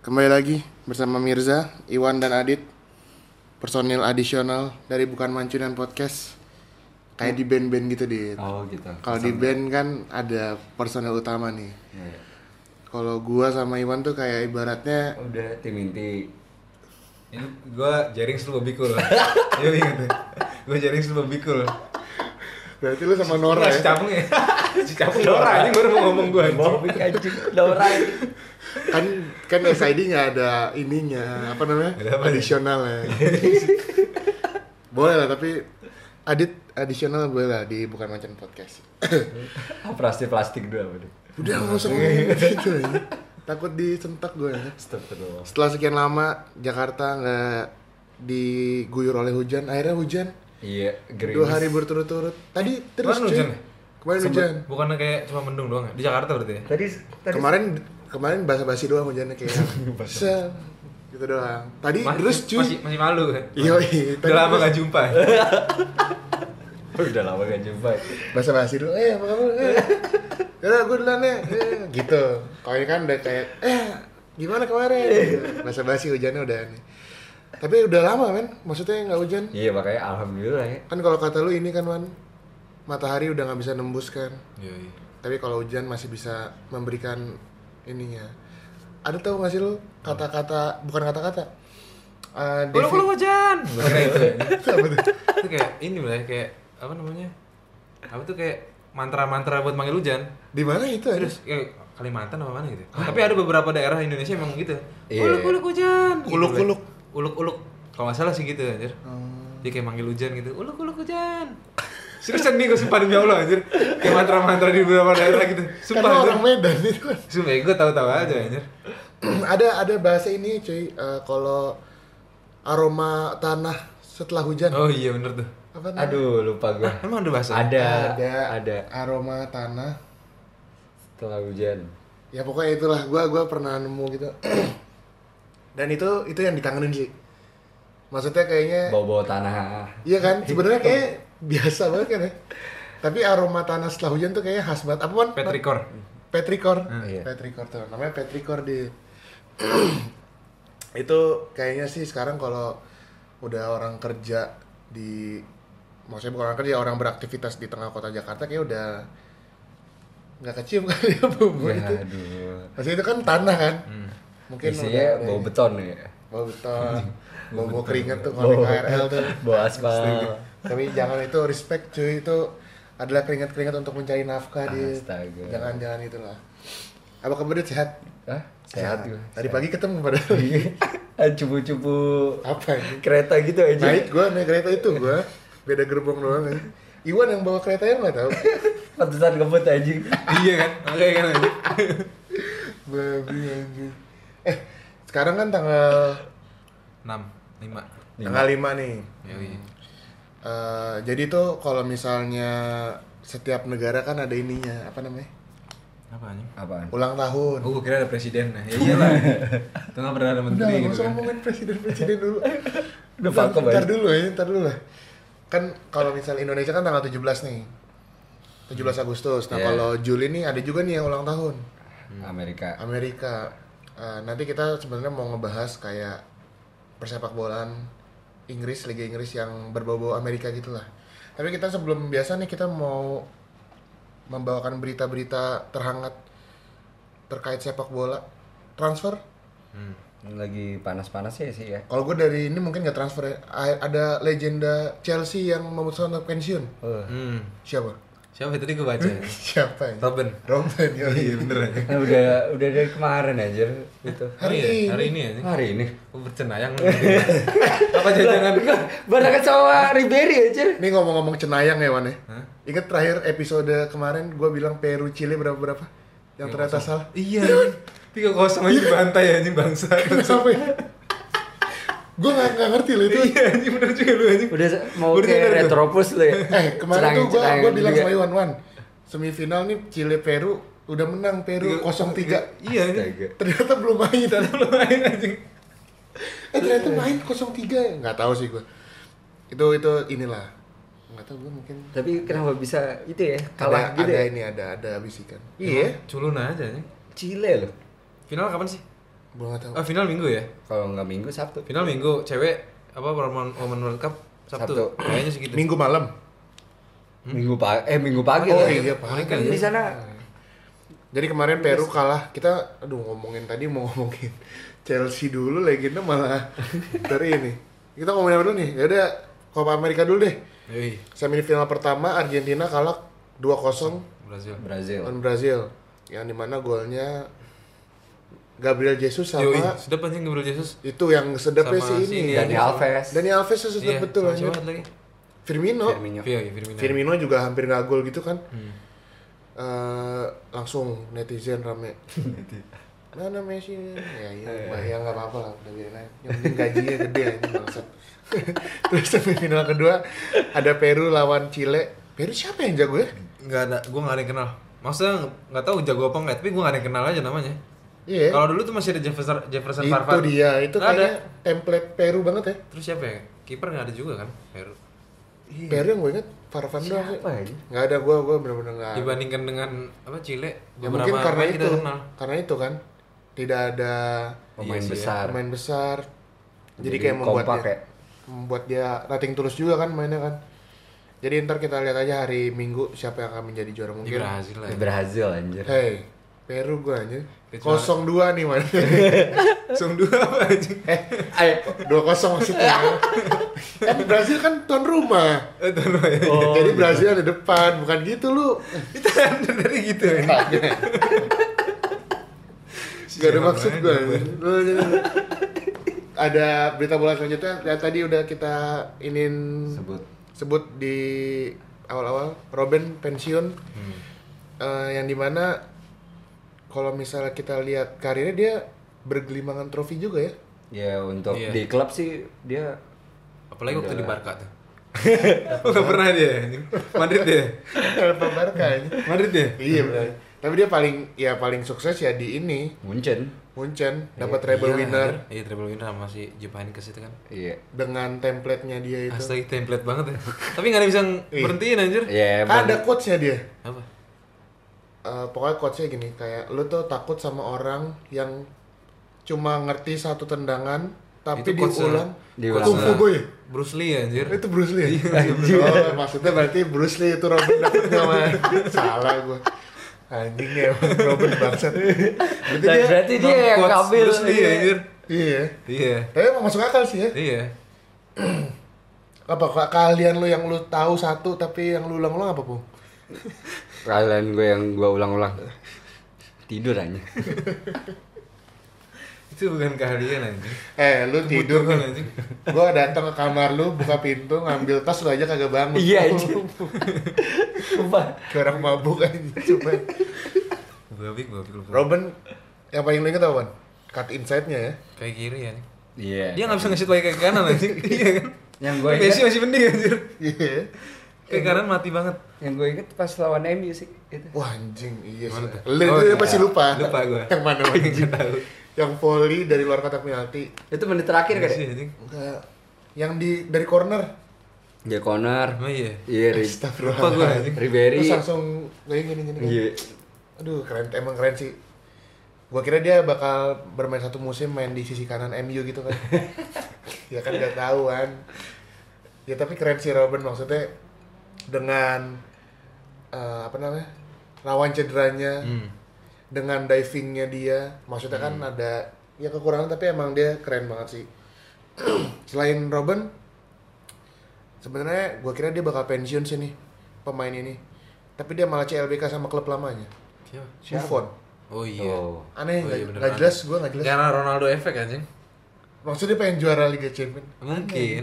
Kembali lagi bersama Mirza, Iwan dan Adit Personil adisional dari Bukan Mancunan Podcast Kayak di band-band gitu, Dit Oh gitu. Kalau di band kan ada personil utama nih Iya, iya. Kalau gua sama Iwan tuh kayak ibaratnya Oh, Udah tim inti. Ini gue jaring selalu bikul. Iya ingat Gue jaring selalu bikul. Berarti lu sama Nora Si ya? capung ya. Si capung Dora ini baru mau ngomong gue. Bobby anjing Dora. Kan, kan SID nggak ada ininya, apa namanya? Ada apa nih? Adisionalnya Boleh lah, tapi Adit adisional boleh lah di Bukan Mancunan Podcast Ah, Operasi plastik dua apa tuh? Udah nggak usah ngomongin gitu ya. Takut disentak gue ya. Astagfirullah. Setelah sekian lama Jakarta nggak diguyur oleh hujan, akhirnya hujan Iya, gerimis. dua hari berturut-turut. Tadi terus Kemarin cuy. hujan ya? Kemarin Sempet. hujan. Bukannya kayak cuma mendung doang ya? Di Jakarta berarti ya? Tadi tadi Kemarin kemarin basa-basi doang hujannya kayak. Sel, gitu doang. Tadi Masih- terus cuy. Masih, masih malu kan? Iya, Udah lama gak jumpa. ya? udah lama gak jumpa. basa-basi dulu. Eh, apa kabar? Eh. Yaudah, gue duluan ya. Eh, gitu. Kalau ini kan udah kayak eh gimana kemarin? Eh. Gitu. Basa-basi hujannya udah nih. Tapi udah lama men, maksudnya nggak hujan. Iya, makanya alhamdulillah ya. Kan kalau kata lu ini kan Wan, matahari udah nggak bisa nembus kan. Iya, iya. Tapi kalau hujan masih bisa memberikan ininya. Ada tau gak sih lu kata-kata bukan kata-kata? eh, Belum devi- belum hujan. Bukan itu. ya. Apa tuh? Itu kayak ini mulai kayak apa namanya? Apa tuh kayak mantra-mantra buat manggil hujan. Di mana itu ada? Terus kayak Kalimantan apa mana gitu. Tapi ada beberapa daerah Indonesia emang gitu. Iya. Uluk-uluk hujan. Gitu, Uluk-uluk. Bay. Uluk-uluk. Kalau nggak salah sih gitu anjir. Dia kayak manggil hujan gitu. Uluk-uluk hujan. Seriusan nih gue sumpah demi Allah anjir. Kayak mantra-mantra di beberapa daerah gitu. Karena Sumpah anjir. orang Medan itu. kan. Sumpah gue tahu-tahu aja anjir. ada ada bahasa ini cuy, eh, kalau aroma tanah setelah hujan. Oh iya bener tuh. Ah, Apa namanya? Aduh, lupa gua. Emang ada bahasa? Ada, Ada. ada. Aroma tanah. Setelah hujan. Ya pokoknya itulah gua gua pernah nemu gitu. Dan itu itu yang dikangenin sih. Maksudnya kayaknya Bawa-bawa tanah. Iya kan, sebenarnya kayak biasa banget kan ya. Tapi aroma tanah setelah hujan tuh kayaknya khas banget. Apa Wan? Petrikor. Petrikor. Hmm, iya. Petrikor tuh. Namanya Petrikor di itu kayaknya sih sekarang kalau udah orang kerja di maksudnya bukan orang kerja orang beraktivitas di tengah kota Jakarta kayak udah nggak kecium kan ya bumbu Ya, itu. aduh. Maksudnya itu kan tanah kan. Mungkin Isinya udah- bau beton ya. bau beton, bau bau keringet tuh kalau di Bau- KRL tuh. bau aspal. Setuju. Tapi jangan itu respect cuy itu adalah keringat-keringat untuk mencari nafkah di. Astaga. Jangan jangan itulah. Apa kabar Dit? sehat? Hah? Sehat gua. Tadi pagi ketemu pada Iya. Cupu-cupu apa ini? kereta gitu aja. Naik gua naik kereta itu gua beda gerbong doang ya. Iwan yang bawa keretanya nggak tahu. Pantesan ngebut anjing. iya kan? Oke kan anjir. Babi anjing. Eh sekarang kan tanggal 6, 5. tanggal 5 nih. Iya iya. Eh, jadi tuh kalau misalnya setiap negara kan ada ininya apa namanya Apa anjing? Apaan? ulang tahun. Oh, gue kira ada presiden. Ya iyalah. Itu nggak pernah ada Udah menteri nggak gitu usah kan. ngomongin presiden-presiden dulu. Udah vakum Ntar aja. dulu ya, ntar dulu lah. Kan kalau misalnya Indonesia kan tanggal 17 nih. 17 Agustus. Nah, Iya. kalau Juli nih ada juga nih yang ulang tahun. Hmm. Amerika. Amerika. Eh, nanti kita sebenarnya mau ngebahas kayak persepak bolaan Inggris, Liga Inggris yang berbau-bau Amerika gitulah. Tapi kita sebelum biasa nih kita mau membawakan berita-berita terhangat terkait sepak bola transfer Hmm. Lagi panas-panasnya sih ya. Kalau gue dari ini mungkin nggak transfer ya. A- Ada legenda Chelsea yang memutuskan untuk pensiun. Oh. Hmm. Siapa? Siapa tadi gue baca? Siapa ya? Robin. Robben. yoi. Iya bener aja. Nah, udah udah dari kemarin anjir itu. Hari Iya, ini. hari ini aja. Hari ini. Gue bercenayang. Apa jangan Barengan sama Ribery anjir. Ini ngomong-ngomong cenayang ya Wan ya. Hah? Ingat terakhir episode kemarin gue bilang Peru Chile berapa berapa? Yang ternyata salah. Iya. Tiga kosong aja bantai anjing bangsa. Kenapa ya? gue nggak nggak ngerti loh itu. Iya anjing bener juga lu anjing. Udah se- mau Udah sadar ke gua. Retropus lu ya. Eh kemarin tuh gue Cenang-cenangan gue bilang juga. sama Iwan Wan semifinal nih Chile Peru udah menang Peru 0-3 Iya anjing. Astaga. ternyata belum main Lu main anjing. eh ternyata Iya. main 0-3 nggak tahu sih gue itu itu inilah nggak tahu gue mungkin Tapi kenapa bisa itu ya? Kalah ada, gitu. ada ya? ini ada ada bisikan Iya. Culun aja anjing. Chile loh. Final kapan sih? Gue nggak tahu. Oh, Ah, final minggu ya? Kalau nggak minggu Sabtu. Final minggu cewek apa Women Women World Cup Sabtu. Sabtu. Kayaknya gitu. segitu. Minggu malam. Minggu pagi eh minggu pagi. Hmm? Oh lah. iya, pagi. Kan di sana Jadi kemarin Peru kalah. Kita aduh ngomongin tadi mau ngomongin Chelsea dulu legenda malah dari ini. Kita ngomongin apa dulu nih? Ya udah Copa America dulu deh. Yoi, Semifinal pertama Argentina kalah 2-0 Brazil. Brazil. lawan Brazil. Yang dimana golnya Gabriel Jesus sama Yoi, sedap anjing Gabriel Jesus. itu yang sedapnya sih Sama si ini. ini, Dani Alves. Dani Alves tuh sedap Iya, betul sama anjir. siapa lagi? Firmino. Firmino. Iya, iya, Firmino. Firmino juga hampir nggak gol gitu kan. Hmm. Eh, langsung netizen rame. Mana Messi? Ya iya, Eh. bah- ya nggak apa-apa lah, udah biarin aja. Yang penting gajinya gede ini bangsat. Terus semifinal kedua ada Peru lawan Chile. Peru siapa yang jago ya? Enggak ada, gua enggak ada yang kenal. Maksudnya enggak tahu jago apa enggak, tapi gua enggak ada yang kenal aja namanya. Iya. Kalau dulu tuh masih ada Jefferson Jefferson Itu Farfan. dia, itu Nggak kayaknya template Peru banget ya. Terus siapa ya? Kiper enggak ada juga kan? Peru. Peru yang gue inget Farfan doang sih. Iya. Siapa ini? Nggak ada gue, gue bener-bener nggak. Dibandingkan dengan apa Chile, Ah. Ya mungkin beberapa karena orang itu, kita kenal. karena itu kan tidak ada Pemain Iya sih ya. besar. pemain besar. Jadi, Jadi kayak membuat kompak dia, ya. membuat dia rating terus juga kan mainnya kan. Jadi ntar kita lihat aja hari Minggu siapa yang akan menjadi juara Di mungkin. Brazil lah. ya. Brazil anjir. Hey, Peru gua anjir. Kecuali- Kosong dua nih man. Langsung dua apa anjing? eh, dua kosong maksudnya. kan Brazil kan tuan rumah. Oh, gitu. Eh, tuh, lu ya. Jadi Brazil ada depan, bukan gitu lu. Itu dari gitu ya. Gak ada maksud Sialan gue. aja, ada berita bola selanjutnya yang tadi udah kita ingin Sebut. sebut di awal-awal Robin pensiun Eh, yang dimana kalau misalnya kita lihat karirnya dia bergelimangan trofi juga ya Ya untuk Iya. di klub sih dia Apalagi waktu Iya. di Barca tuh. Oh, gak pernah dia. anjing. Madrid dia. Apa Barca aja? Madrid dia. kan. iya benar tapi dia paling ya paling sukses ya di ini Munchen. Munchen dapat treble Iya, winner anjir. Iya, treble winner sama si Jupanikes itu kan. Iya. dengan template-nya dia itu Astaga, template banget ya. Tapi gak ada yang bisa berhentiin anjir. Iya, Kan ada coach-nya dia Apa? Eh, pokoknya coachnya gini kayak lu tuh takut sama orang yang cuma ngerti satu tendangan tapi Itu coach, diulang eh, Kung Fu diulang. Boy ya? Bruce Lee anjir. itu Bruce Lee ya? Iya, oh, maksudnya berarti Bruce Lee itu Robin dapetnya man salah gua anjingnya emang Robin bangsat berarti Dan dia berarti dia yang Quotes ngambil Bruce Lee iya. anjir. iya Iya. tapi emang masuk akal sih ya Iya. apa ka- kalian lu yang lu tahu satu tapi yang lu ulang-ulang apa pun Kalian gue yang gue ulang-ulang tidur aja. Itu bukan keahlian anjir. eh lu tidur Kebutuhan, nih anjing. gua datang ke kamar lu buka pintu ngambil tas lu aja kagak bangun Iya anjir. Sumpah. Kayak orang mabuk aja cuma Gabik, gabik lu. Robin yang paling lu inget apa Wan? cut inside-nya ya Kayak kiri ya nih. Iya. Dia gak bisa ngasih lagi ke kanan anjing. Iya kan? Yang gue Messi inget, masih mending anjir. iya Kayak kanan mati banget. yang gue inget pas lawan MU sih itu. wah anjing iya sih Mana tuh? lu Oh, itu iya. pasti lupa Lupa gua. yang mana Wan? Yang nggak tahu. yang volley dari luar kotak penalti Itu menit terakhir kan? Messi ya? anjing. enggak yang di dari corner Ya Connor. Emang iya. Iya, Ri- Lupa gue Astagfirullah anjing. Ribery. terus langsung kayak gini gini, gini. Iya. aduh keren emang keren sih gua kira dia bakal bermain satu musim main di sisi kanan MU gitu kan ya kan gak tahu kan ya tapi keren sih Robin maksudnya dengan eh, apa namanya rawan cederanya Hmm. dengan divingnya dia maksudnya kan Hmm. ada ya kekurangan tapi emang dia keren banget sih selain Robin sebenarnya gua kira dia bakal pensiun sih nih pemain ini tapi dia malah CLBK sama klub lamanya Siapa? Buffon Oh iya. Oh. aneh Oh, nggak iya, bener, nggak aneh. jelas gue nggak jelas Karena Ronaldo efek anjing. maksudnya pengen juara Liga Champions Mungkin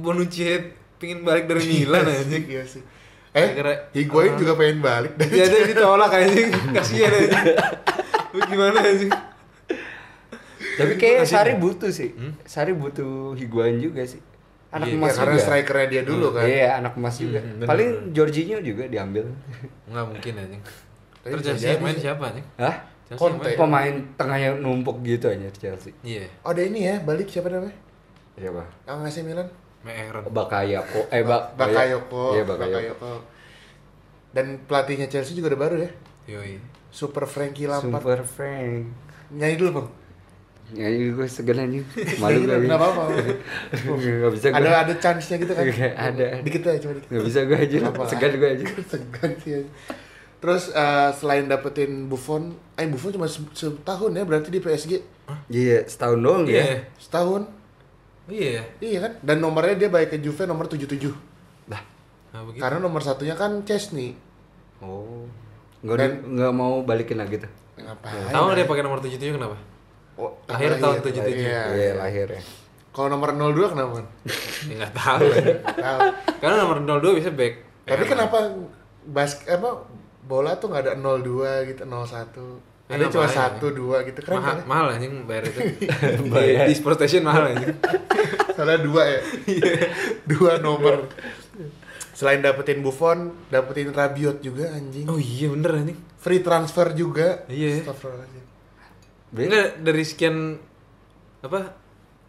Bonucci pingin balik dari Milan anjing. iya sih eh Kira- Higuain juga pengen balik dari Dia ada yang ditolak anjing. Kasihan anjing. Lu gimana anjing? Tapi kayaknya Sari butuh sih. Sari butuh higuan juga sih. Anak ya, Hmm? Iya, emas karena juga. strikernya dia dulu kan Iya, anak emas juga. Hmm, bener. Paling Jorginho juga diambil. Enggak mungkin anjing. Tapi Terus bisa Chelsea yang jadi main sih. siapa anjing? Hah? Chelsea yang Conte. main. Pemain tengahnya numpuk gitu aja Chelsea. Iya. oh ada ini ya balik siapa namanya Siapa? yang AC Milan Meeron. Bakayoko. Eh, ba Bakayoko Iya, Bakayoko. dan pelatihnya Chelsea juga udah baru ya Yoi. Super Frankie Lampard Super Frank. nyanyi dulu bang Ya ini gue segan aja. Malu gue. Nggak apa-apa. Enggak bisa gue. ada ada chance-nya gitu kan? Nggak ada. Dikit aja cuma dikit. Enggak bisa gue aja. Nggak apa-apa. Segan gue aja. Segan sih. aja. Terus eh, selain dapetin Buffon, eh Buffon cuma se- setahun ya berarti di PSG Iya, setahun doang Iya. ya. setahun. Iya. Iya kan? Dan nomornya dia baik ke Juve nomor 77. Lah. Nah, begitu. Karena nomor satunya kan Chesney. Oh. Enggak enggak mau balikin lagi tuh. Ngapain? Tahu nggak dia pakai nomor 77 kenapa? Oh, Iya. Akhir iya, tahun iya. 77. Iya. Iya, lahir ya. Kalau nomor 02 kenapa? Kan? Ya nggak tahu. Tahu. Karena nomor 02 bisa back. Tapi Ya, kenapa basket apa bola tuh nggak ada 02 gitu, 01. Ya, Ada cuma ngapain? satu dua gitu keren mahal, kan? mahal anjing bayar itu. di, Bayar. di sport station mahal anjing. Soalnya dua ya. Iya. dua nomor. Selain dapetin Buffon, dapetin Rabiot juga anjing. Oh iya bener anjing. Free transfer juga. Iya. Astagfirullahaladzim. Be- Enggak dari sekian apa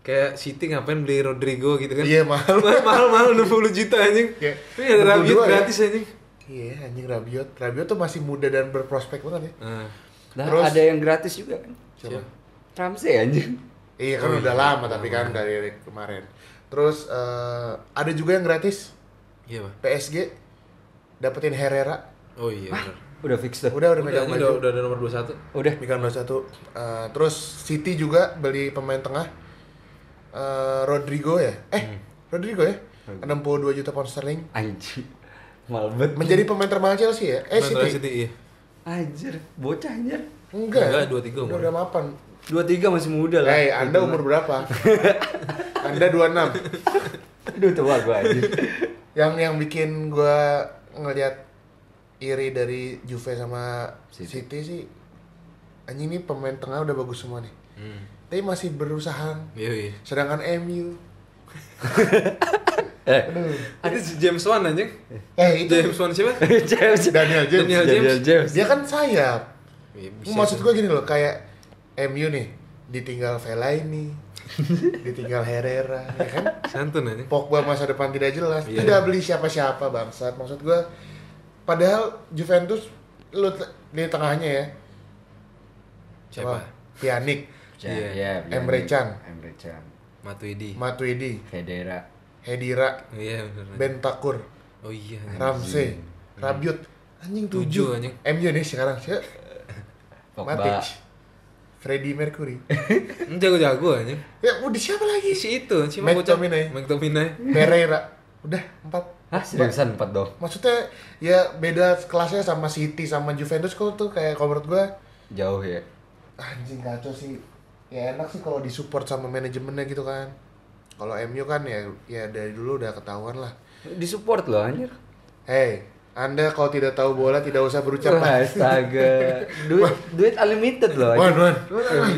kayak City ngapain beli Rodrigo gitu kan? Iya, mahal. mahal mahal 60 juta anjing. Iya. Tapi ada Rabiot 62 ya. gratis anjing. Iya, anjing Rabiot. Rabiot tuh masih muda dan berprospek banget ya. Nah, Nah, Terus- ada yang gratis juga kan. Coba. Ramsey anjing. Iya Oh, kan udah lama tapi kan dari kemarin. Terus eh, ada juga yang gratis iya pak. PSG dapetin Herrera. Oh iya. bener. Udah fix tuh. Udah udah Udah, megang anjing, baju. udah, udah ada nomor 21 Udah. Megang baju satu. Eh, terus City juga beli pemain tengah. Eh, Rodrigo ya. Eh, Rodrigo ya. 62 juta pound sterling. Anjing. Malbet. Menjadi pemain termahal Chelsea ya? Eh, City. Manchester City iya. Anjir, bocah anjir. Enggak. Enggak, 23 Udah umurnya. udah mapan. 23 masih muda lah. Hei, Anda umur berapa? anda 26. Aduh tua gue anjir. yang yang bikin gua ngelihat iri dari Juve sama City, City. sih anjing ini pemain tengah udah bagus semua nih Hmm. tapi masih berusaha Iya iya. sedangkan MU eh, Ada si James Wan anjing. eh itu James Wan siapa? James. Daniel James Daniel James. Daniel James. dia kan sayap Iya, bisa maksud gua tuh. gini loh kayak MU nih ditinggal Fellaini ditinggal Herrera ya kan santun anjing. Pogba masa depan tidak jelas, Iya. tidak beli siapa-siapa bangsat. Maksud gua padahal Juventus lu t- di tengahnya ya. Siapa? Wah, Pjanic, Iya. Emre Can. Emre Can. Matuidi. Matuidi, Federa. Hedira, Iya bener. anjing. Bentakur, Oh iya. anjing. Ramsey, Rabiot. Anjing Tujuh, tujuh. anjing. MU nih sekarang sih. Pogba. Matic. Freddie Mercury. Ini jago-jago anjing. ya udah siapa lagi? Si itu, si McTominay. McTominay. Pereira. Udah empat. Hah, seriusan 4 dong. Maksudnya ya beda kelasnya sama City sama Juventus kok tuh kayak kalau menurut gua "Ah, Jauh ya. anjing kacau sih ya enak sih kalau disupport sama manajemennya gitu kan kalau MU kan ya ya dari dulu udah ketahuan lah Disupport loh anjir. hey anda kalau tidak tahu bola tidak usah berucap Wah, lah Astaga. Duit duit unlimited loh wan anjir. wan Wan, wan.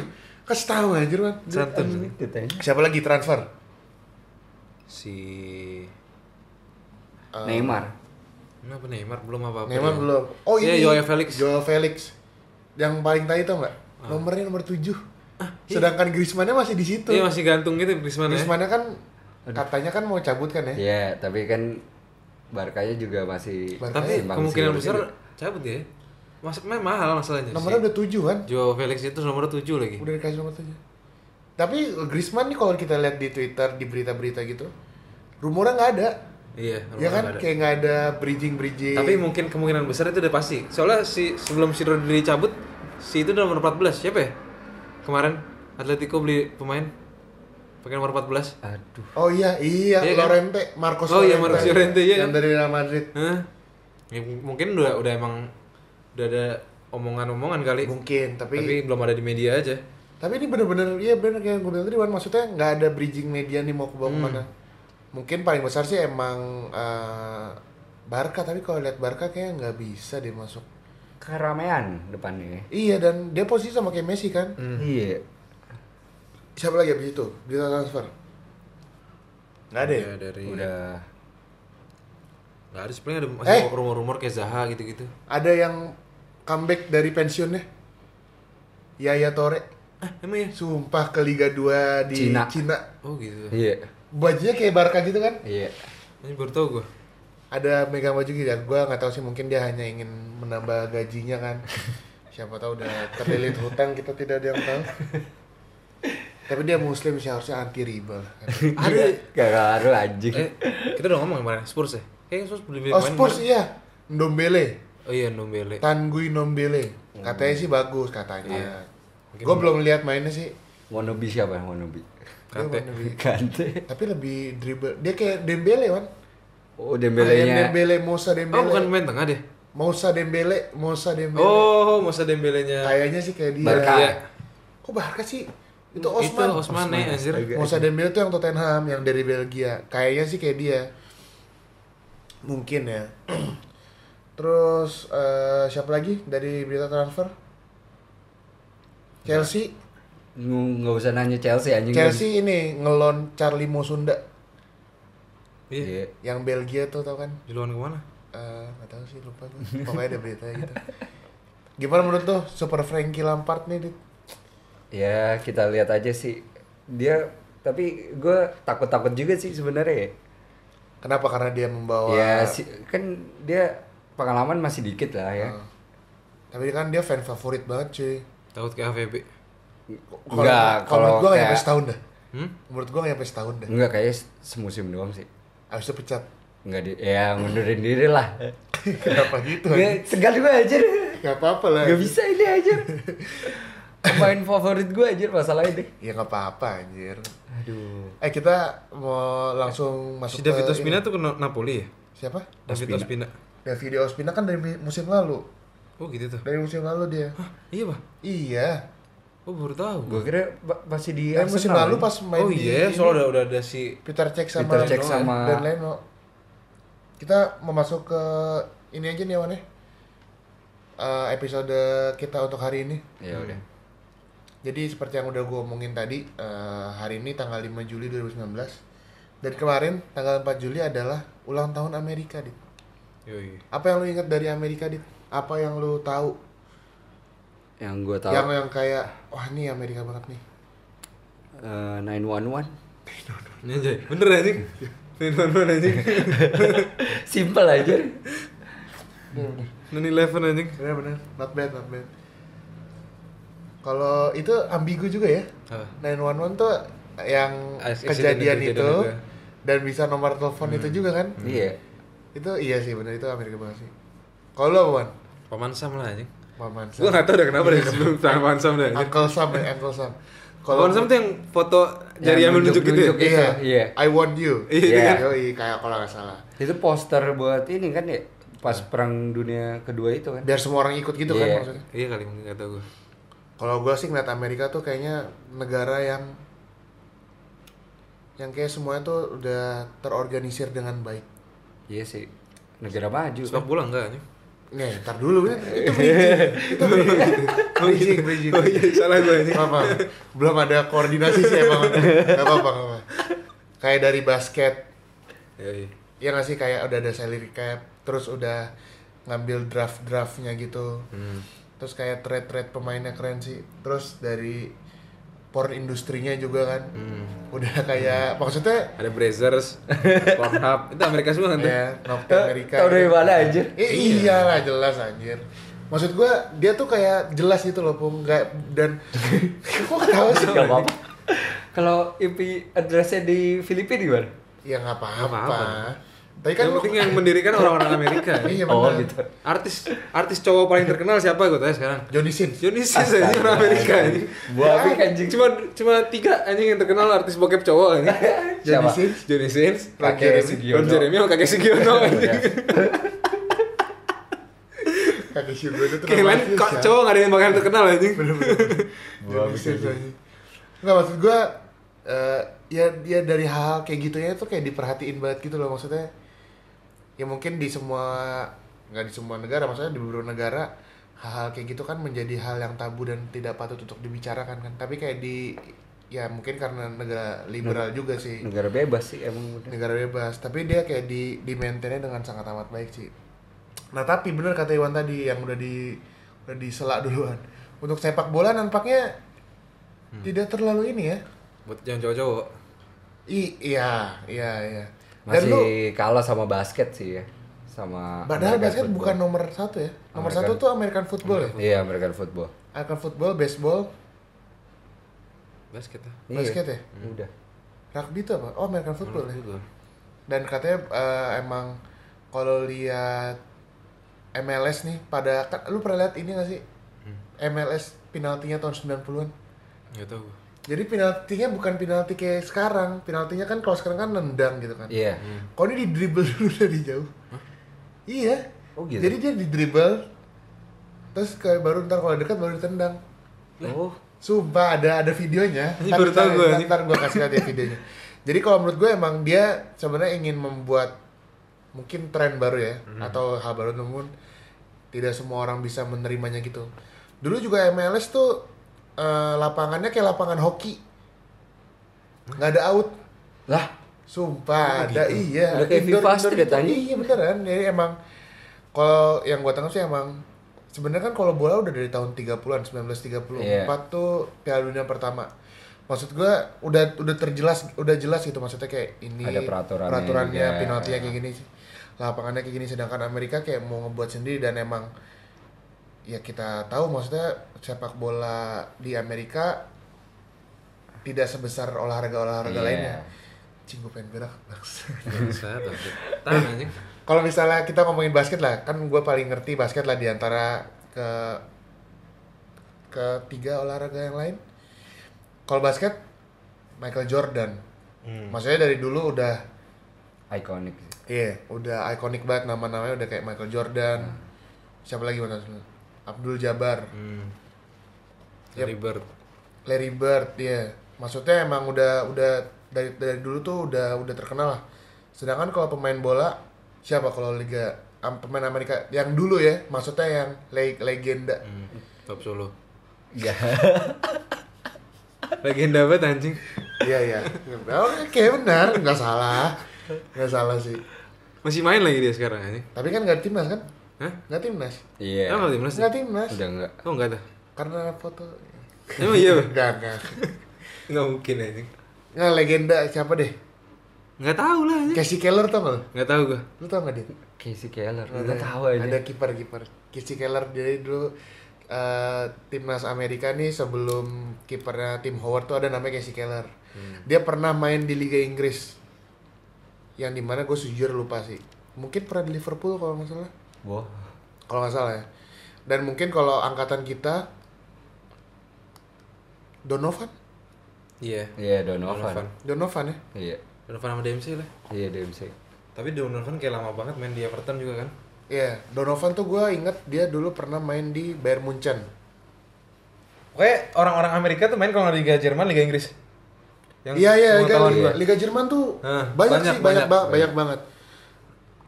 kasih tahu anjir wan Duit Santun. unlimited anjir. siapa lagi transfer Si Neymar. Kenapa Neymar belum apa-apa? Neymar dia. belum oh Iya, ini Joao Felix. Ah. Joao Felix yang paling tadi tau nggak nomornya nomor 7 sedangkan Griezmannnya masih di situ Iya masih gantung gitu Griezmann ya. Griezmannnya kan katanya kan mau cabut kan ya Iya, tapi kan Barkanya juga masih Barkanya Tapi simpang kemungkinan siur besar juga. cabut ya. Masuk mah mahal masalahnya. gitu. nomornya udah 7 kan Si Joao Felix itu nomor 7 lagi. udah dikasih nomor saja tapi Griezmann nih kalau kita lihat di Twitter di berita-berita gitu rumornya nggak ada Iya, ya nomornya kan nggak ada. kayak nggak ada bridging bridging Tapi mungkin kemungkinan besar itu udah pasti. Soalnya si sebelum si Rodri cabut, si itu udah nomor 14. Siapa ya? Kemarin Atletico beli pemain pakai nomor 14. Aduh. oh iya iya Iya kan? Lorente Marcos Oh iya, Llorente. Marcos Llorente, iya yang kan? dari Real Madrid Hah? Ya, m- mungkin udah udah emang udah ada omongan-omongan kali. mungkin tapi Tapi tapi, belum ada di media aja. ini bener-bener iya bener kayak yang gue bilang tadi Wan maksudnya nggak ada bridging media nih mau ke bawah kemana mungkin paling besar sih emang eh, Barca tapi kalau lihat Barca kayaknya nggak bisa dia masuk Keramean depannya. ya. iya dan dia posisi sama kayak Messi kan Iya. siapa lagi abis itu berita transfer nggak ada ya? Udah Iya, dari Udah nggak ada sih, paling ada masih Eh. rumor-rumor kayak Zaha gitu-gitu. ada yang comeback dari pensiunnya Yaya Tore Ah, emang ya? sumpah ke Liga 2 di Cina, Cina. Oh gitu. Iya. bajunya kayak Barca gitu kan Iya. Ini baru tau gue. ada megang baju gitu gue nggak tahu sih mungkin dia hanya ingin menambah gajinya kan siapa tahu udah terlilit hutang kita tidak ada yang tahu Tapi dia muslim sih harusnya anti riba. lah. Ada. Gak ngaruh anjing. Eh, kita udah ngomong kemarin Spurs ya. Kayaknya Spurs beli beli Iya. Oh Spurs iya, Ndombele, Oh iya Ndombele. Tanguy Ndombele. Katanya sih bagus katanya. Hmm. Iya. Mungkin- Gue belum lihat mainnya sih. Wannabe siapa yang wannabe? Dia Kante. main lebih- Kante. Tapi lebih dribble. Dia kayak Dembele kan. Oh, Kayak Dembelenya. Dembele, Musa Oh bukan Dembele. pemain tengah deh. Musa Dembele, Musa Dembele. Oh, masa Dembelenya. Kayaknya sih kayak dia. Barca. Iya. Kok Barca sih? Itu Osman. Itu Osman, iya. nih anjir. Astaga. Musa Dembele tuh yang Tottenham, yang dari Belgia. Kayaknya sih kayak dia. Mungkin ya. Terus eh, siapa lagi dari berita transfer? Chelsea. Nggak nggak usah nanya Chelsea anjing. Chelsea ini ngelon Charlie Musunda Iya. Iya. yang Belgia tuh tau kan? Diluan kemana? Eh, nggak tahu sih lupa gue. Pokoknya ada berita gitu. Gimana menurut lo Super Frankie Lampard nih? Dit? Ya, kita lihat aja sih. Dia tapi gue takut-takut juga sih sebenarnya. ya. Kenapa? Karena dia membawa. Ya, si- kan dia pengalaman masih dikit lah ya. Ah. Hmm. Tapi kan dia fan favorit banget cuy. Takut ke AVB. Kalau- kalau Enggak, kalau menurut gue nggak nyampe kayak- setahun dah. Hmm? Menurut gue nggak nyampe setahun dah. Enggak kayak semusim doang sih. Abis itu pecat. Enggak di ya ngundurin diri lah. Kenapa gitu? Gue segan gue aja. Gak apa-apa lah. Gak bisa ini aja. Pemain favorit gue aja masalahnya deh. Ya nggak apa-apa anjir. Aduh. Eh kita mau langsung masuk Si David ke Ospina ini. tuh ke Na- Napoli ya? Siapa? David Ospina. David Ospina kan dari musim lalu. Oh gitu tuh. Dari musim lalu dia. Hah, iya, Pak. Iya. Oh baru tahu. Gue kira ba- masih di Dari musim Arsenal lalu ya. pas main oh di iya, ini, soalnya udah, udah ada si Peter Cech sama Peter Cech Leno, ya. sama- dan Leno. Kita mau masuk ke ini aja nih Wan ya. Eh, episode kita untuk hari ini. Ya udah. Jadi seperti yang udah gue omongin tadi, eh, hari ini tanggal 5 Juli 2019 dan kemarin tanggal 4 Juli adalah ulang tahun Amerika, Dit. Yoi. Apa yang lu ingat dari Amerika, Dit? Apa yang lu tahu? Yang gue tahu Yang yang kayak wah ini Amerika banget nih. eh, 911. Ini aja. Bener anjing. Ini bener anjing. Simple aja. Bener-bener, 911 anjing. Iya, not bad, not bad. Kalau itu ambigu juga ya. Apa? 911 tuh yang Ah, Accident- kejadian, kejadian itu, ya. itu. dan bisa nomor telepon itu juga kan? Iya. Itu iya sih bener itu Amerika banget sih. Kalau lu, Wan, Paman Sam lah anjing. Paman Sam. Gue gak tau udah kenapa deh sebelum Paman Sam deh. anjing. Uncle Sam ya, Uncle Sam. Paman Sam tuh yang foto jari Yang ambil nunjuk gitu ya? nunjuk-nunjuk. iya, Iya. I want you. Iya. Yoi, kayak kalau nggak salah. Itu poster buat ini kan ya pas Iya. perang dunia kedua itu kan. Biar semua orang ikut gitu Iya. kan maksudnya. Iya kali mungkin gak tau gue. Kalau gue sih ngeliat Amerika tuh kayaknya negara yang yang kayak semuanya tuh udah terorganisir dengan baik. Iya sih. Negara maju. kan. Sepak bola enggak anjing? Nih, ntar dulu ya. Itu bridging. Itu bridging. Bridging, bridging. Oh iya, salah gue anjing. Apa? Belum ada koordinasi sih emang. Gak apa-apa, gak apa-apa. Kayak dari basket, Yoi. ya nggak sih kayak udah ada salary cap terus udah ngambil draft draftnya gitu Hmm. terus kayak trade trade pemainnya keren sih terus dari porn industrinya juga kan udah kayak maksudnya Hmm. Ada Brazers, Pornhub, itu Amerika semua kan tuh? ya Nocte Tau- Amerika Tau dari gitu. mana anjir? Eh, iyalah jelas anjir maksud gua dia tuh kayak jelas gitu loh pung nggak dan kok ketawa sih Gak apa-apa. Kalau IP addressnya di Filipina gimana? ya nggak apa-apa apa-apa. tapi kan Yang lu penting yang mendirikan orang-orang Amerika. iya Oh, benar gitu. Artis artis cowok paling terkenal siapa gue tanya sekarang? Johnny Sins Johnny Sins anjing Iya. orang Amerika anjing. Buah api kan anjing. Cuma cuma tiga anjing yang terkenal artis bokep cowok anjing. Siapa? Sins Johnny Sins, Ron Kakek Jeremy- Sugiono. Ron Jeremy sama kakek Sugiono Iya. Iya. anjing. kakek Shugo itu Kayak lain termasuk kok ya. cowok gak ada yang bakal terkenal anjing. Gua bisa Enggak maksud gua eh, ya dia dari hal kayak gitu ya tuh kayak diperhatiin banget gitu loh maksudnya. Ya mungkin di semua nggak di semua negara maksudnya di beberapa negara hal-hal kayak gitu kan menjadi hal yang tabu dan tidak patut untuk dibicarakan kan. Tapi kayak di ya mungkin karena negara liberal juga sih. Negara bebas sih emang udah. Negara bebas, tapi dia kayak di di maintainnya dengan sangat amat baik sih. Nah, tapi bener kata Iwan tadi yang udah di udah diselak duluan. Untuk sepak bola nampaknya Hmm. tidak terlalu ini ya. Buat yang cowok-cowok. I, iya, iya, iya. Dan lu, Masih kalah sama basket sih ya. Sama padahal American basket football. bukan nomor satu ya. Nomor American. satu tuh American football ya. Iya, American football. American football, baseball, basket ah. lah. Basket ya? Iya. Hmm. Udah. Rugby itu apa? Oh, American football ya. Football. Dan katanya eh, emang kalau lihat MLS nih pada kan lu pernah lihat ini gak sih? Hmm. MLS penaltinya tahun 90-an. Gak tau gue. Jadi penaltinya bukan penalti kayak sekarang. Penaltinya kan kalau sekarang kan nendang gitu kan. Iya. Kalau ini di dribble dulu dari jauh. Iya. Oh, gitu? Jadi dia di dribble terus ke baru ntar kalau dekat baru ditendang. Oh. Sumpah ada ada videonya. Ini baru tahu gua, ini. Ntar gue kasih lihat ya videonya. Jadi kalau menurut gue emang dia sebenarnya ingin membuat mungkin tren baru ya Hmm. atau hal baru namun tidak semua orang bisa menerimanya gitu. Dulu juga MLS tuh eh, lapangannya kayak lapangan hoki. Nggak ada out. Lah, Sumpah ada iya. Udah Oh, gitu. kayak Indoor- FIFA indoor street, gitu. anjing. Iya beneran. Jadi emang kalau yang gua tangkap sih emang sebenarnya kan kalau bola udah dari tahun 30-an 1934 Iya. tuh Piala Dunia pertama. Maksud gua udah udah terjelas udah jelas gitu maksudnya kayak ini Ada peraturannya peraturannya juga. penaltinya kayak gini lapangannya kayak gini sedangkan Amerika kayak mau ngebuat sendiri dan emang ya kita tahu maksudnya sepak bola di Amerika tidak sebesar olahraga-olahraga Iya. lainnya. Cing gue pengen berak. Saya tau. Eh, Tahan anjing. Kalau misalnya kita ngomongin basket lah, kan gue paling ngerti basket lah di antara ke ketiga olahraga yang lain. Kalau basket Michael Jordan. Maksudnya dari dulu udah ikonik. iya, udah ikonik banget nama-namanya udah kayak Michael Jordan. Siapa lagi mana Abdul Jabbar. Hmm. Yep. Larry Bird. Larry Bird ya maksudnya emang udah udah dari dari dulu tuh udah udah terkenal lah sedangkan kalau pemain bola siapa kalau liga am- pemain Amerika yang dulu ya maksudnya yang le- legenda Hmm. Top Solo. Iya. Ya. Legenda banget anjing. iya iya oh, kayak benar nggak salah nggak salah sih Masih main lagi dia sekarang anjing. tapi kan nggak timnas kan Hah? nggak timnas Iya. Emang nggak timnas? nggak timnas Udah enggak. Oh enggak ada. karena foto Emang iya, Bang? nggak nggak Enggak mungkin anjing. nggak legenda siapa deh Enggak tahu lah anjing. Casey Keller tau nggak lu? Enggak tahu gua. lu tau nggak dia Casey Keller. Enggak tahu aja. Iya. Ada kiper kiper. Casey Keller jadi dulu eh, timnas Amerika nih sebelum kipernya tim Howard tuh ada namanya Casey Keller. Hmm. Dia pernah main di Liga Inggris. Yang dimana gue sejujur lupa sih. Mungkin pernah di Liverpool kalau nggak salah. Wah. Kalau nggak salah ya. Dan mungkin kalau angkatan kita Donovan, Iya. Iya, Donovan. Donovan ya. Iya. Donovan sama DMC lah. Iya, DMC. Tapi Donovan kayak lama banget main di Everton juga kan. Iya, Donovan tuh gue inget dia dulu pernah main di Bayern Munchen. Pokoknya orang-orang Amerika tuh main kalau nggak Liga Jerman, Liga Inggris. Iya iya Liga, pengetahuan Liga, gua. Liga Jerman tuh Hah, banyak, banyak, sih banyak banyak. ba- banyak banget.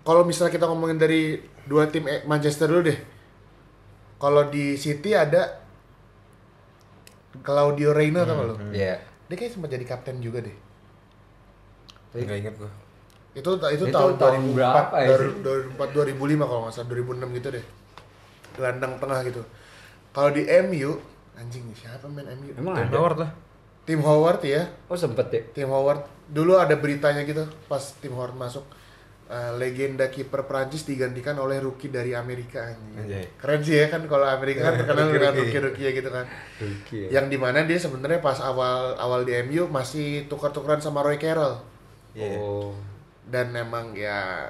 Kalau misalnya kita ngomongin dari dua tim eh, Manchester dulu deh. Kalau di City ada Claudio Reyna tau gak lo? Hmm, Iya. Dia kayak sempat jadi kapten juga deh. Nggak inget gua. Itu itu, Itu tahun, tahun berapa ya sih? 2004 2005 kalau nggak salah 2006 gitu deh. Gelandang tengah gitu. Kalau di MU anjing siapa main MU? Emang Tom ada. Howard lah. Tim Howard ya. Oh, sempet ya. Tim Howard dulu ada beritanya gitu pas Tim Howard masuk eh, legenda kiper Prancis digantikan oleh rookie dari Amerika anjing. Anjay. Keren sih ya kan kalau Amerika kan terkenal dengan Rookie-rookie. rookie-rookie ya gitu kan. Oke. ya. Yang dimana dia sebenarnya pas awal awal di MU masih tukar-tukaran sama Roy Carroll Iya. Oh. dan emang ya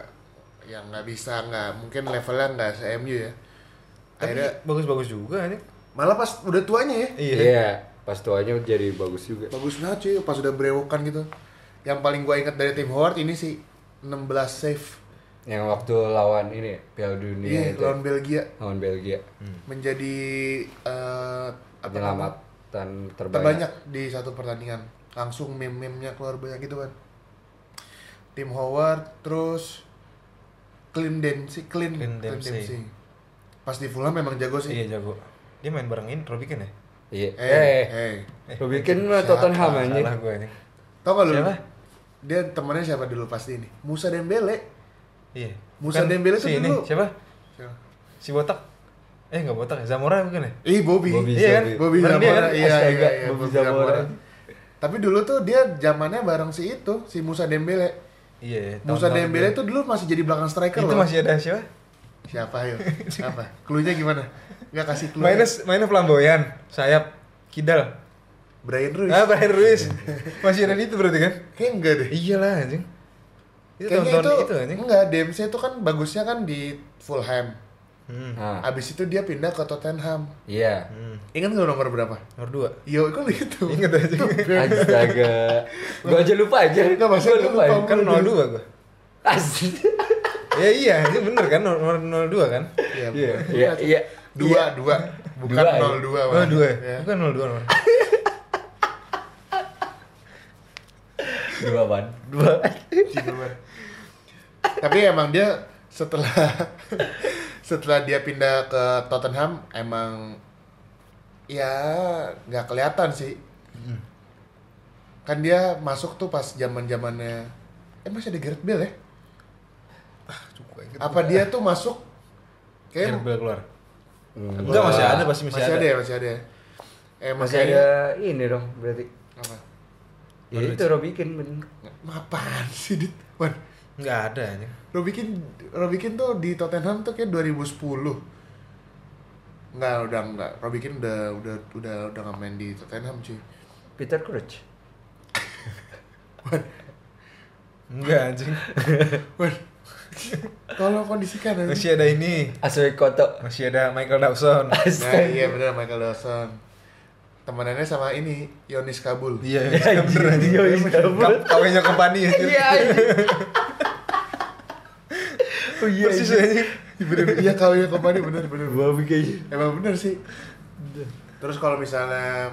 yang nggak bisa nggak mungkin levelnya nggak se MU ya. Tapi Akhirnya bagus-bagus juga ini. malah pas udah tuanya ya Iya. Pas tuanya jadi bagus juga. bagus banget cuy pas udah berewokan gitu. Yang paling gua ingat dari Tim Howard ini sih 16 save Yang waktu lawan ini Piala Dunia Iya, itu. lawan Belgia Lawan Belgia. menjadi eh, apa namanya, Penyelamatan terbanyak. terbanyak di satu pertandingan. Langsung meme-memenya keluar banyak gitu kan. Tim Howard terus Clint Dempsey, Clint, Clint Clint Dempsey. Dempsey. Pas di Fulham memang jago sih. Iya jago. Dia main barengin Robbie Keane ya? Iya. Eh, Eh. eh. Hmm. Robbie Keane mah Tottenham anjing. Salah gua ini. Tau gak lu? Siapa? Dia temannya siapa dulu pasti ini? Musa Dembele. Iya. Musa Bukan Dembele tuh si ini, dulu. Siapa? Siapa? Si botak. Eh enggak botak, ya, Zamora bukan ya? Ih, Bobby. Bobby iya kan? Zamora. Bobby Bener dia Zamora. kan? Iya, iya, Astaga, iya, Bobby Bobby Zamora. Zamora. Tapi dulu tuh dia zamannya bareng si itu, si Musa Dembele. Iya. tahun-tahun Musa Dembele dia. tuh dulu masih jadi belakang striker itu loh. masih ada siapa? Siapa yuk? Apa? Cluenya gimana? Nggak kasih clue. ya. Mainnya mainnya flamboyan, sayap, kidal. Brian Ruiz. Ah, Brian Ruiz. Masih ada itu berarti kan? Kayaknya enggak deh. Iyalah anjing. Itu Kayaknya Iya, tahun-tahun itu, itu, anjing. enggak, DMC itu kan bagusnya kan di Fulham. Hmm. Nah, Abis itu dia pindah ke Tottenham. iya. Hmm. Ingat nggak nomor berapa? Nomor dua. Yo, kok gitu. Ingat aja. Astaga. Gua aja lupa aja. Nggak, maksud Gua lu lupa. lupa. Kan 02 gua. Astaga. Ya iya, anjing bener kan nomor 02 kan? Iya, Iya, bukan. iya, iya. Dua, dua. Bukan Dua, ya? nol dua. Oh, Wan. dua. Iya. ya? Bukan 02 nomor. Dua ban. Dua. Tiga, Wan. Tapi emang dia setelah setelah dia pindah ke Tottenham emang ya nggak kelihatan sih. Kan dia masuk tuh pas zaman zamannya eh masih ada Gareth Bale ya? Apa dia tuh masuk Kayak kayak keluar. Hmm. Enggak masih ada pasti masih, masih, ada. ya, masih ada. ya? Eh Masih ada ini dong berarti. apa? Ya itu Robikin bener. Apaan sih dit? Wan, Enggak ada anjing. Robikin Robikin tuh di Tottenham tuh kayak 2010. Enggak, udah enggak. Robikin udah udah udah udah nggak main di Tottenham cuy. Peter Crouch. Enggak anjing. Wan, tolong kondisikan Oh, aja. Masih ada ini. Aswe Koto. Masih ada Michael Dawson. Nah, Astaga. iya bener Michael Dawson. Temenannya sama ini Yonis Kabul. Iya, Ya, anjing. bener anjing. Iya, iya, bener. Kau- Kawinnya company anjing. Iya. anjing. Oh iya. Persis anjing. anjing. Bener, iya kalau yang kemarin bener bener. Gua bikin. gitu. Iya. Emang bener sih. Terus kalau misalnya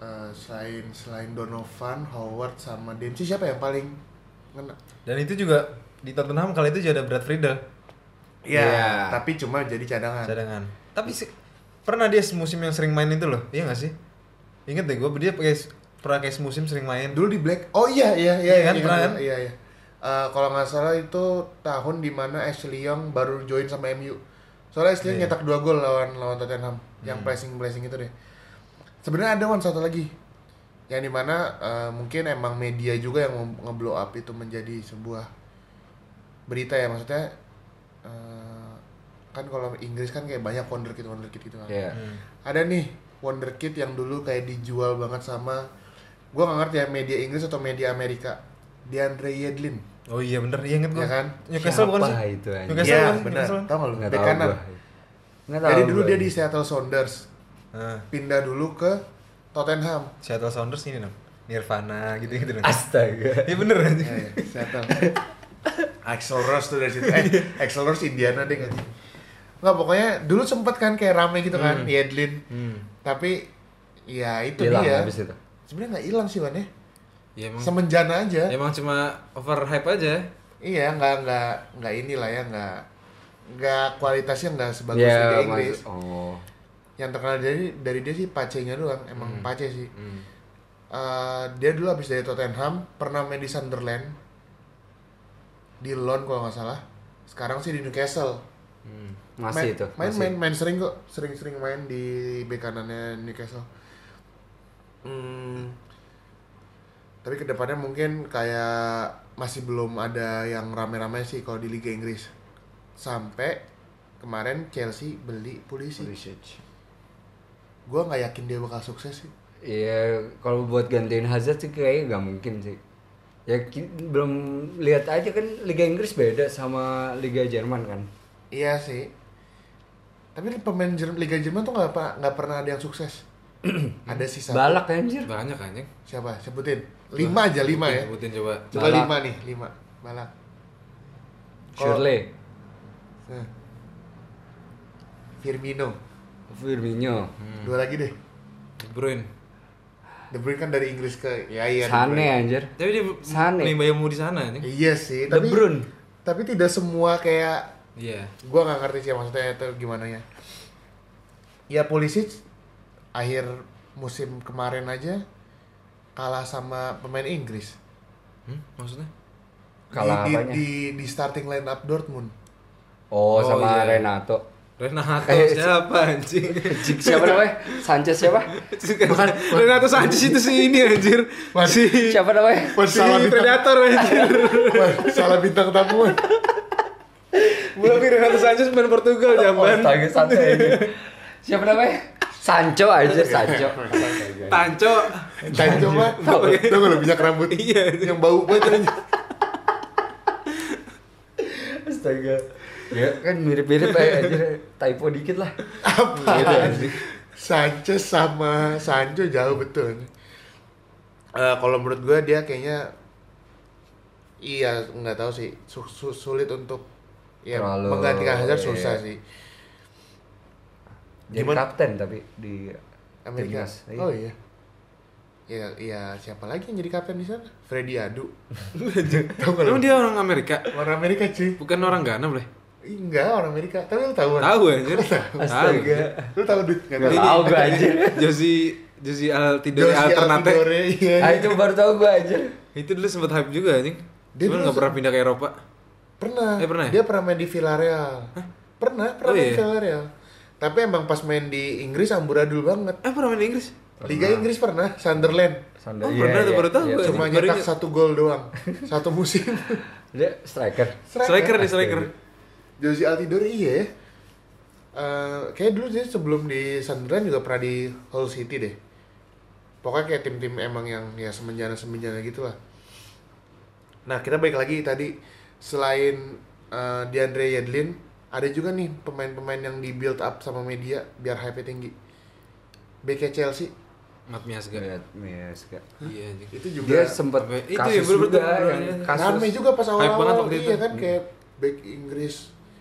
eh, selain selain Donovan, Howard sama Dempsey siapa yang paling ngena? Dan itu juga di Tottenham kali itu juga ada Brad Friedel Iya, Iya. tapi cuma jadi cadangan. cadangan. Tapi si- pernah dia musim yang sering main itu loh, iya gak sih? Ingat deh gue, dia pakai pernah kayak musim sering main. Dulu di Black. Oh iya iya iya Iya kan, iya, pernah iya, kan? iya, iya. Eh, kalau nggak salah itu tahun dimana Ashley Young baru join sama MU. Soalnya Ashley Young Iya. Hmm. nyetak dua gol lawan lawan Tottenham yang pressing pressing itu deh. Sebenarnya ada one satu lagi yang dimana eh, mungkin emang media juga yang nge- ngeblow up itu menjadi sebuah berita ya maksudnya eh, kan kalau Inggris kan kayak banyak wonderkid wonderkid gitu kan Iya. Hmm. ada nih wonderkid yang dulu kayak dijual banget sama gue nggak ngerti ya media Inggris atau media Amerika Deandre Yedlin Oh iya bener, iya inget gue. Iya kan? Newcastle bukan sih? Siapa itu anjing? Newcastle Iya bukan sih? bener Newcastle. tau nggak lu Oh, Nggak bek tahu kanan gua. Nggak tahu jadi dulu gua dia di ini. Seattle Sounders Nah, pindah dulu ke Tottenham Seattle Sounders ini nam. Nirvana gitu-gitu dong. Astaga. Iya bener anjing. ya, ya, Seattle Axel Rose tuh dari situ eh Axel Rose Indiana deh nggak nggak pokoknya dulu sempet kan kayak rame gitu kan Yedlin Hmm. tapi ya itu Hilang dia habis itu. sebenarnya nggak hilang sih Wan ya Ya emang, semenjana aja emang cuma overhype aja. Iya, nggak nggak nggak inilah ya nggak nggak kualitasnya nggak sebagus Iya, Liga mas- Inggris. Oh. Yang terkenal dari dari dia sih pacenya doang, emang pace sih. Hmm. Eh, dia dulu habis dari Tottenham pernah main di Sunderland, di Lon kalau nggak salah. Sekarang sih di Newcastle. Hmm. Masih main, itu. Main, masih. main main sering kok, sering-sering main di bek kanannya Newcastle. Hmm. Tapi kedepannya mungkin kayak masih belum ada yang rame-rame sih kalau di Liga Inggris. Sampai kemarin Chelsea beli polisi. Pulisic. Gua nggak yakin dia bakal sukses sih. Iya, kalau buat gantiin Hazard sih kayaknya nggak mungkin sih. Ya ki- belum lihat aja kan Liga Inggris beda sama Liga Jerman kan. Iya sih. Tapi pemain Jer- Liga Jerman tuh nggak pa- nggak pernah ada yang sukses. ada sisa Balak kan anjir. Banyak anjing. siapa? Sebutin. Lima aja lima ya. Sebutin coba. Coba Balak. lima nih lima. Balak. Kalau- Shirley, Nah. Firmino. Firmino, Dua lagi deh. De Bruyne. De Bruyne kan dari Inggris ke ya iya. De Sane Bruyne. anjir. Tapi dia Sane. nimbaymu di sana anjing. Iya sih, De tapi Bruyne. tapi tidak semua kayak Iya. gua nggak ngerti sih maksudnya itu gimana ya. Ya Pulisic akhir musim kemarin aja kalah sama pemain Inggris. Hmm, maksudnya? Kalah di, di, apanya? di, di starting line up Dortmund. Oh, Oh, sama iya. Renato. Renato Eh, siapa anjing? Cik, siapa namanya? Sanchez siapa? Bukan Renato Sanchez itu si ini anjir. Si Siapa namanya? si Salah bintang- predator anjir. Wah, Salah bintang tamu. Gua pikir Renato Sanchez main Portugal Oh, jamban. Astaga, Sanchez. anjir. Siapa namanya? Sancho aja Sancho. Tanco. Tadi coba, tau gak lo minyak rambut Iya, itu. yang bau banget anjing. Astaga. Ya kan mirip-mirip aja anjir. typo dikit lah. apa Gitu, anjing. Sanchez sama Sancho jauh betul Eh, kalau menurut gue dia kayaknya iya nggak tahu sih su- su- sulit untuk ya Terlalu, menggantikan Hazard iya. susah sih Jadi Gimana? kapten tapi di Amerika timnas. oh iya ya iya siapa lagi yang jadi kapten di sana Freddy Adu tahu nggak Emang lu? dia orang Amerika, orang Amerika cuy bukan orang Ghana boleh. Ih, enggak orang Amerika tapi lu tahu kan? Tahu anjir. Astaga. lu tahu duit nggak Nggak tahu tahu gue anjir. Josi Josi Altidore Josie Alternate. Altidore, iya. Ah itu baru tahu gue anjir. Itu dulu sempat hype juga anjing. Dia Cuman dulu nggak se- pernah pindah ke Eropa. Pernah. Eh, pernah ya? Dia pernah main di Villarreal. Pernah, pernah Oh, main iya. di Villarreal. Tapi emang pas main di Inggris amburadul banget. Eh pernah main di Inggris? Liga Inggris pernah, Sunderland. Sandal. Oh, benar tuh, baru tahu gua. Iya, Cuma Cuma Baru nyetak ingat. satu gol doang, satu musim. dia striker. Striker nih striker. Josie Altidore iya ya. Eh, kayak dulu dia sebelum di Sunderland juga pernah di Hull City deh. Pokoknya kayak tim-tim emang yang ya semenjana-semenjana gitu lah. Nah kita balik lagi tadi selain eh, Deandre Yedlin ada juga nih pemain-pemain yang di build up sama media biar hype tinggi. BK Chelsea Mat Miasga. Lihat, Mes, Kak. Iya anjing. itu Dia juga sempat Sampai- itu kasus ya, bener-bener juga bener-bener yang ya. kasus. rame juga pas Hype banget awal-awal waktu itu. iya kan kayak back Inggris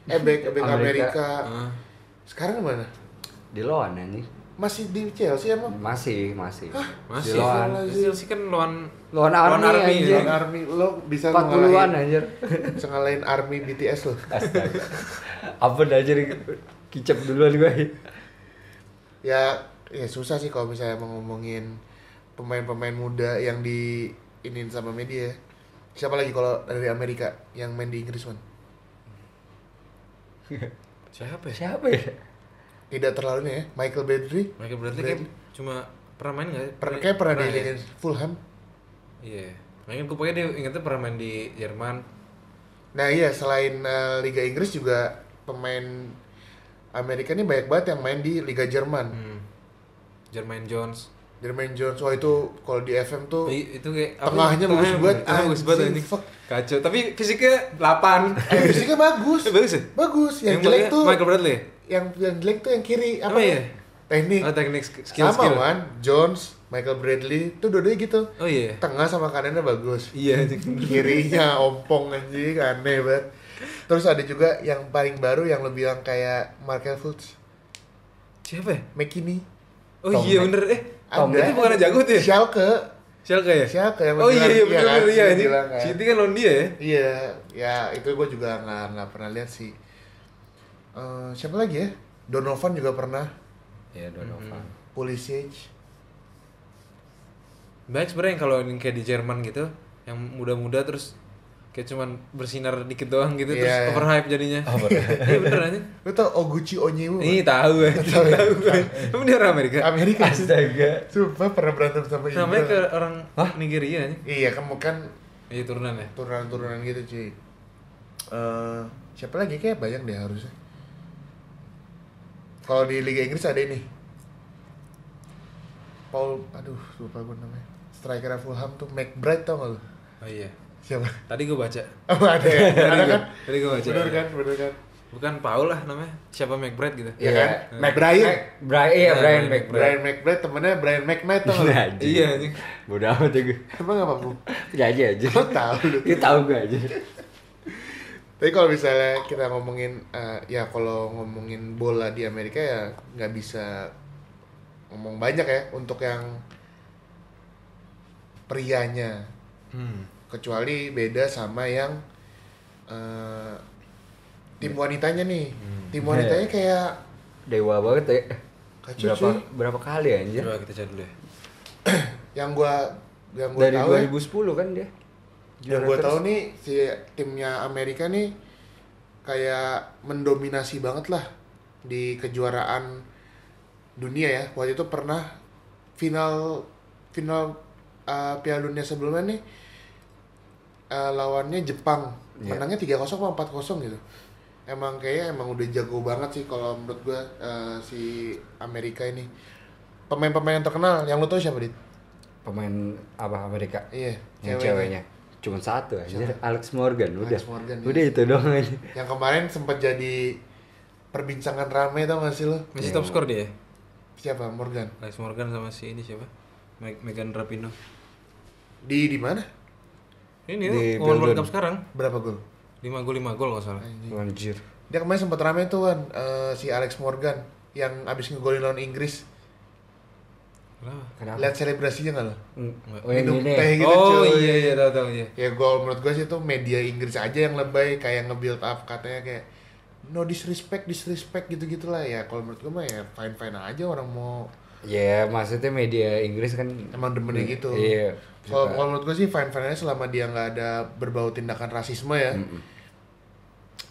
eh back back Amerika. Amerika. Ah. Sekarang mana? Di lawan anjing. Masih di Chelsea emang? Masih, masih. Di Masih. lawan. Chelsea kan lawan Lawan Army, anjing. Lawan Army lo bisa 40-an ngalahin anjir. bisa ngalahin Army BTS lo. Astaga. Apa dah jadi kicap duluan gue. Ya ya susah sih kalau misalnya mau ngomongin pemain-pemain muda yang di iniin sama media. Siapa lagi kalau dari Amerika yang main di Inggris man? Siapa ya? Siapa ya? Tidak terlalunya ya, Michael Bedri. Michael Bradley kayak kan cuma pernah main nggak? Pernah kayak pernah di ya? Liga Fulham. Iya. Makanya gue pokoknya dia ingetnya pernah main di Jerman. Nah iya selain eh, Liga Inggris juga pemain Amerika ini banyak banget yang main di Liga Jerman. Hmm. Jermaine Jones. Jermaine Jones, wah itu kalau di FM tuh I- itu kayak apa? Tengahnya bagus banget, Tengahnya bagus banget anjing, anjing. fuck. Kacau, tapi fisiknya 8. Eh, fisiknya bagus. Eh, bagus ya? Bagus. Yang, Yang jelek bolanya tuh Michael Bradley. yang yang jelek tuh yang kiri apa Apa ya? ya? Teknik. Oh, teknik sk- skill Sama skill. kan, Jones, Michael Bradley, tuh dua-duanya gitu. Oh iya. Tengah sama kanannya bagus. Iya anjing. Kirinya ompong anjing, aneh banget. Terus ada juga yang paling baru yang lo bilang kayak Markel Fultz, Siapa ya? McKinney. Oh Tom iya Hanks. bener eh. Tom Ada. Itu bukan jago tuh ya? Schalke. Schalke ya? Schalke yang Oh iya bilang- iya iya bener kan? bener iya Dia anjing. bilang kan. City kan lawan dia ya? Iya, ya itu gue juga nggak nggak pernah lihat sih. Eh, siapa lagi ya? Donovan juga pernah. Ya Donovan. Pulisic. Baik sebenarnya yang kalau yang kayak di Jerman gitu, yang muda-muda terus kayak cuman bersinar dikit doang gitu terus Iya, iya. overhype jadinya. Iya bener anjing. Lu tau Oguchi Onyewu? nggak? Ini tahu anjing, Tahu ya? tahu kan. Emang dia orang Amerika. Amerika. Astaga. Sumpah pernah berantem sama Ibra. Namanya ke orang Nigeria anjing. Iya, kamu kan Iya turunan ya. turunan-turunan gitu cuy. Eh, siapa lagi kayak banyak deh harusnya. Kalau di Liga Inggris ada ini. Paul, aduh lupa gue namanya. Striker Fulham tuh McBride tau gak lu? Oh iya. Siapa? Tadi gue baca. Oh ada ya? Tadi Ada gue kan? tadi gue baca. Bener kan? Bener kan? Bukan Paul lah namanya. Siapa McBride gitu. Iya Iya. kan? McBrien. Brian, iya Brian Brian McBride. Nah, Brian McBride temennya Brian McKnight tau Iya, gak? lu? anjing. Iya, anjing. Bodoh amat ya gue. Emang apa bu? Ya aja aja. Lo tau Oh, lu. Itu tahu gue aja. Tapi kalau misalnya kita ngomongin, eh, ya kalau ngomongin bola di Amerika ya nggak bisa ngomong banyak ya untuk yang prianya. Hmm. Kecuali beda sama yang eh, tim wanitanya nih. Tim wanitanya kayak Dewa banget ya. Kacau, Berapa cuy. berapa kali Iya. anjir? Coba kita cari dulu ya. yang gua yang gua Dari tahu ya, 2010 kan dia. yang gua tahu nih si timnya Amerika nih kayak mendominasi banget lah di kejuaraan dunia ya waktu itu pernah final final uh, Piala Dunia sebelumnya nih uh, lawannya Jepang Iya. menangnya 3-0 apa 4-0 gitu emang kayaknya emang udah jago banget sih kalau menurut gua uh, si eh, Amerika ini pemain-pemain yang terkenal yang lu tahu siapa dit pemain apa Amerika iya yang ceweknya. ceweknya cuma satu aja Alex Morgan udah Morgan, iya. udah itu doang aja yang kemarin sempat jadi perbincangan rame tau gak sih lo Messi top skor dia. ya? siapa Morgan Alex Morgan sama si ini siapa? Meg- Megan Rapinoe. di di mana Ini Di Women World Belgium. Cup sekarang. berapa gol 5 gol 5 gol enggak salah. Iya. anjir dia kemarin sempat rame tuh kan eh, si Alex Morgan yang abis ngegolin lawan Inggris Kenapa? kenapa lihat selebrasinya nggak lo oh yang Minum ini ya? teh gitu oh cuy. iya iya tahu tahu iya. ya gol menurut gue sih itu media Inggris aja yang lebay kayak nge-build up katanya kayak no disrespect disrespect gitu gitulah ya kalau menurut gue mah ya fine fine aja orang mau ya maksudnya media Inggris kan emang demennya gitu iya kalau kalau menurut gue sih fine fine aja selama dia nggak ada berbau tindakan rasisme ya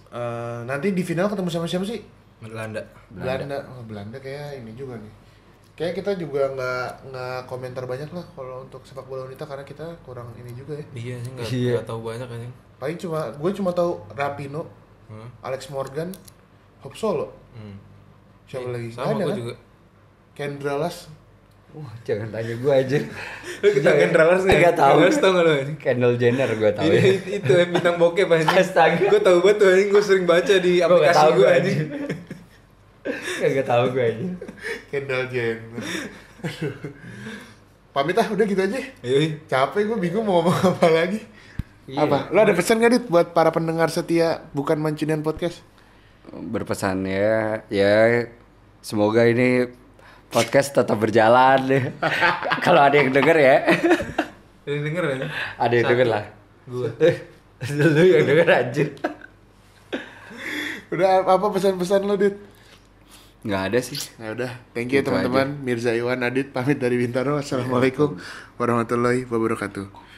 Eh, nanti di final ketemu sama siapa sih Belanda. Belanda Belanda, oh, Belanda kayak ini juga nih kayak kita juga nggak nggak komentar banyak lah kalau untuk sepak bola wanita karena kita kurang ini juga ya Iya sih enggak Iya. tahu banyak anjing. paling cuma gue cuma tahu Rapino Hah? Alex Morgan Hope Solo Hmm. siapa lagi Nggak Sama ada gua kan? juga. Kendra Las wah jangan tanya gue aja Kita Kendralas nih. ya? Agak tahu. Kendralas tau nggak lu anjing? Kendall Jenner gue tahu Ini ya itu yang bintang bokep anjing. Astaga. Gue tahu banget tuh anjing, gue sering baca di Gua nggak aplikasi tahu gue gua anjing. Gak tahu gue aja Kendall Jenner Aduh. pamit ah udah gitu aja Yoi. capek gue bingung mau ngomong apa lagi apa lo ada pesan gak dit buat para pendengar setia bukan mancunian podcast berpesan ya ya semoga ini podcast tetap berjalan kalau ada yang denger ya Ini denger anjing. ada yang denger lah Gua. lu yang denger anjir udah apa pesan-pesan lo dit nggak ada sih ya udah thank you Gitu Iya. teman-teman Mirza Iwan Adit pamit dari Bintaro assalamualaikum warahmatullahi wabarakatuh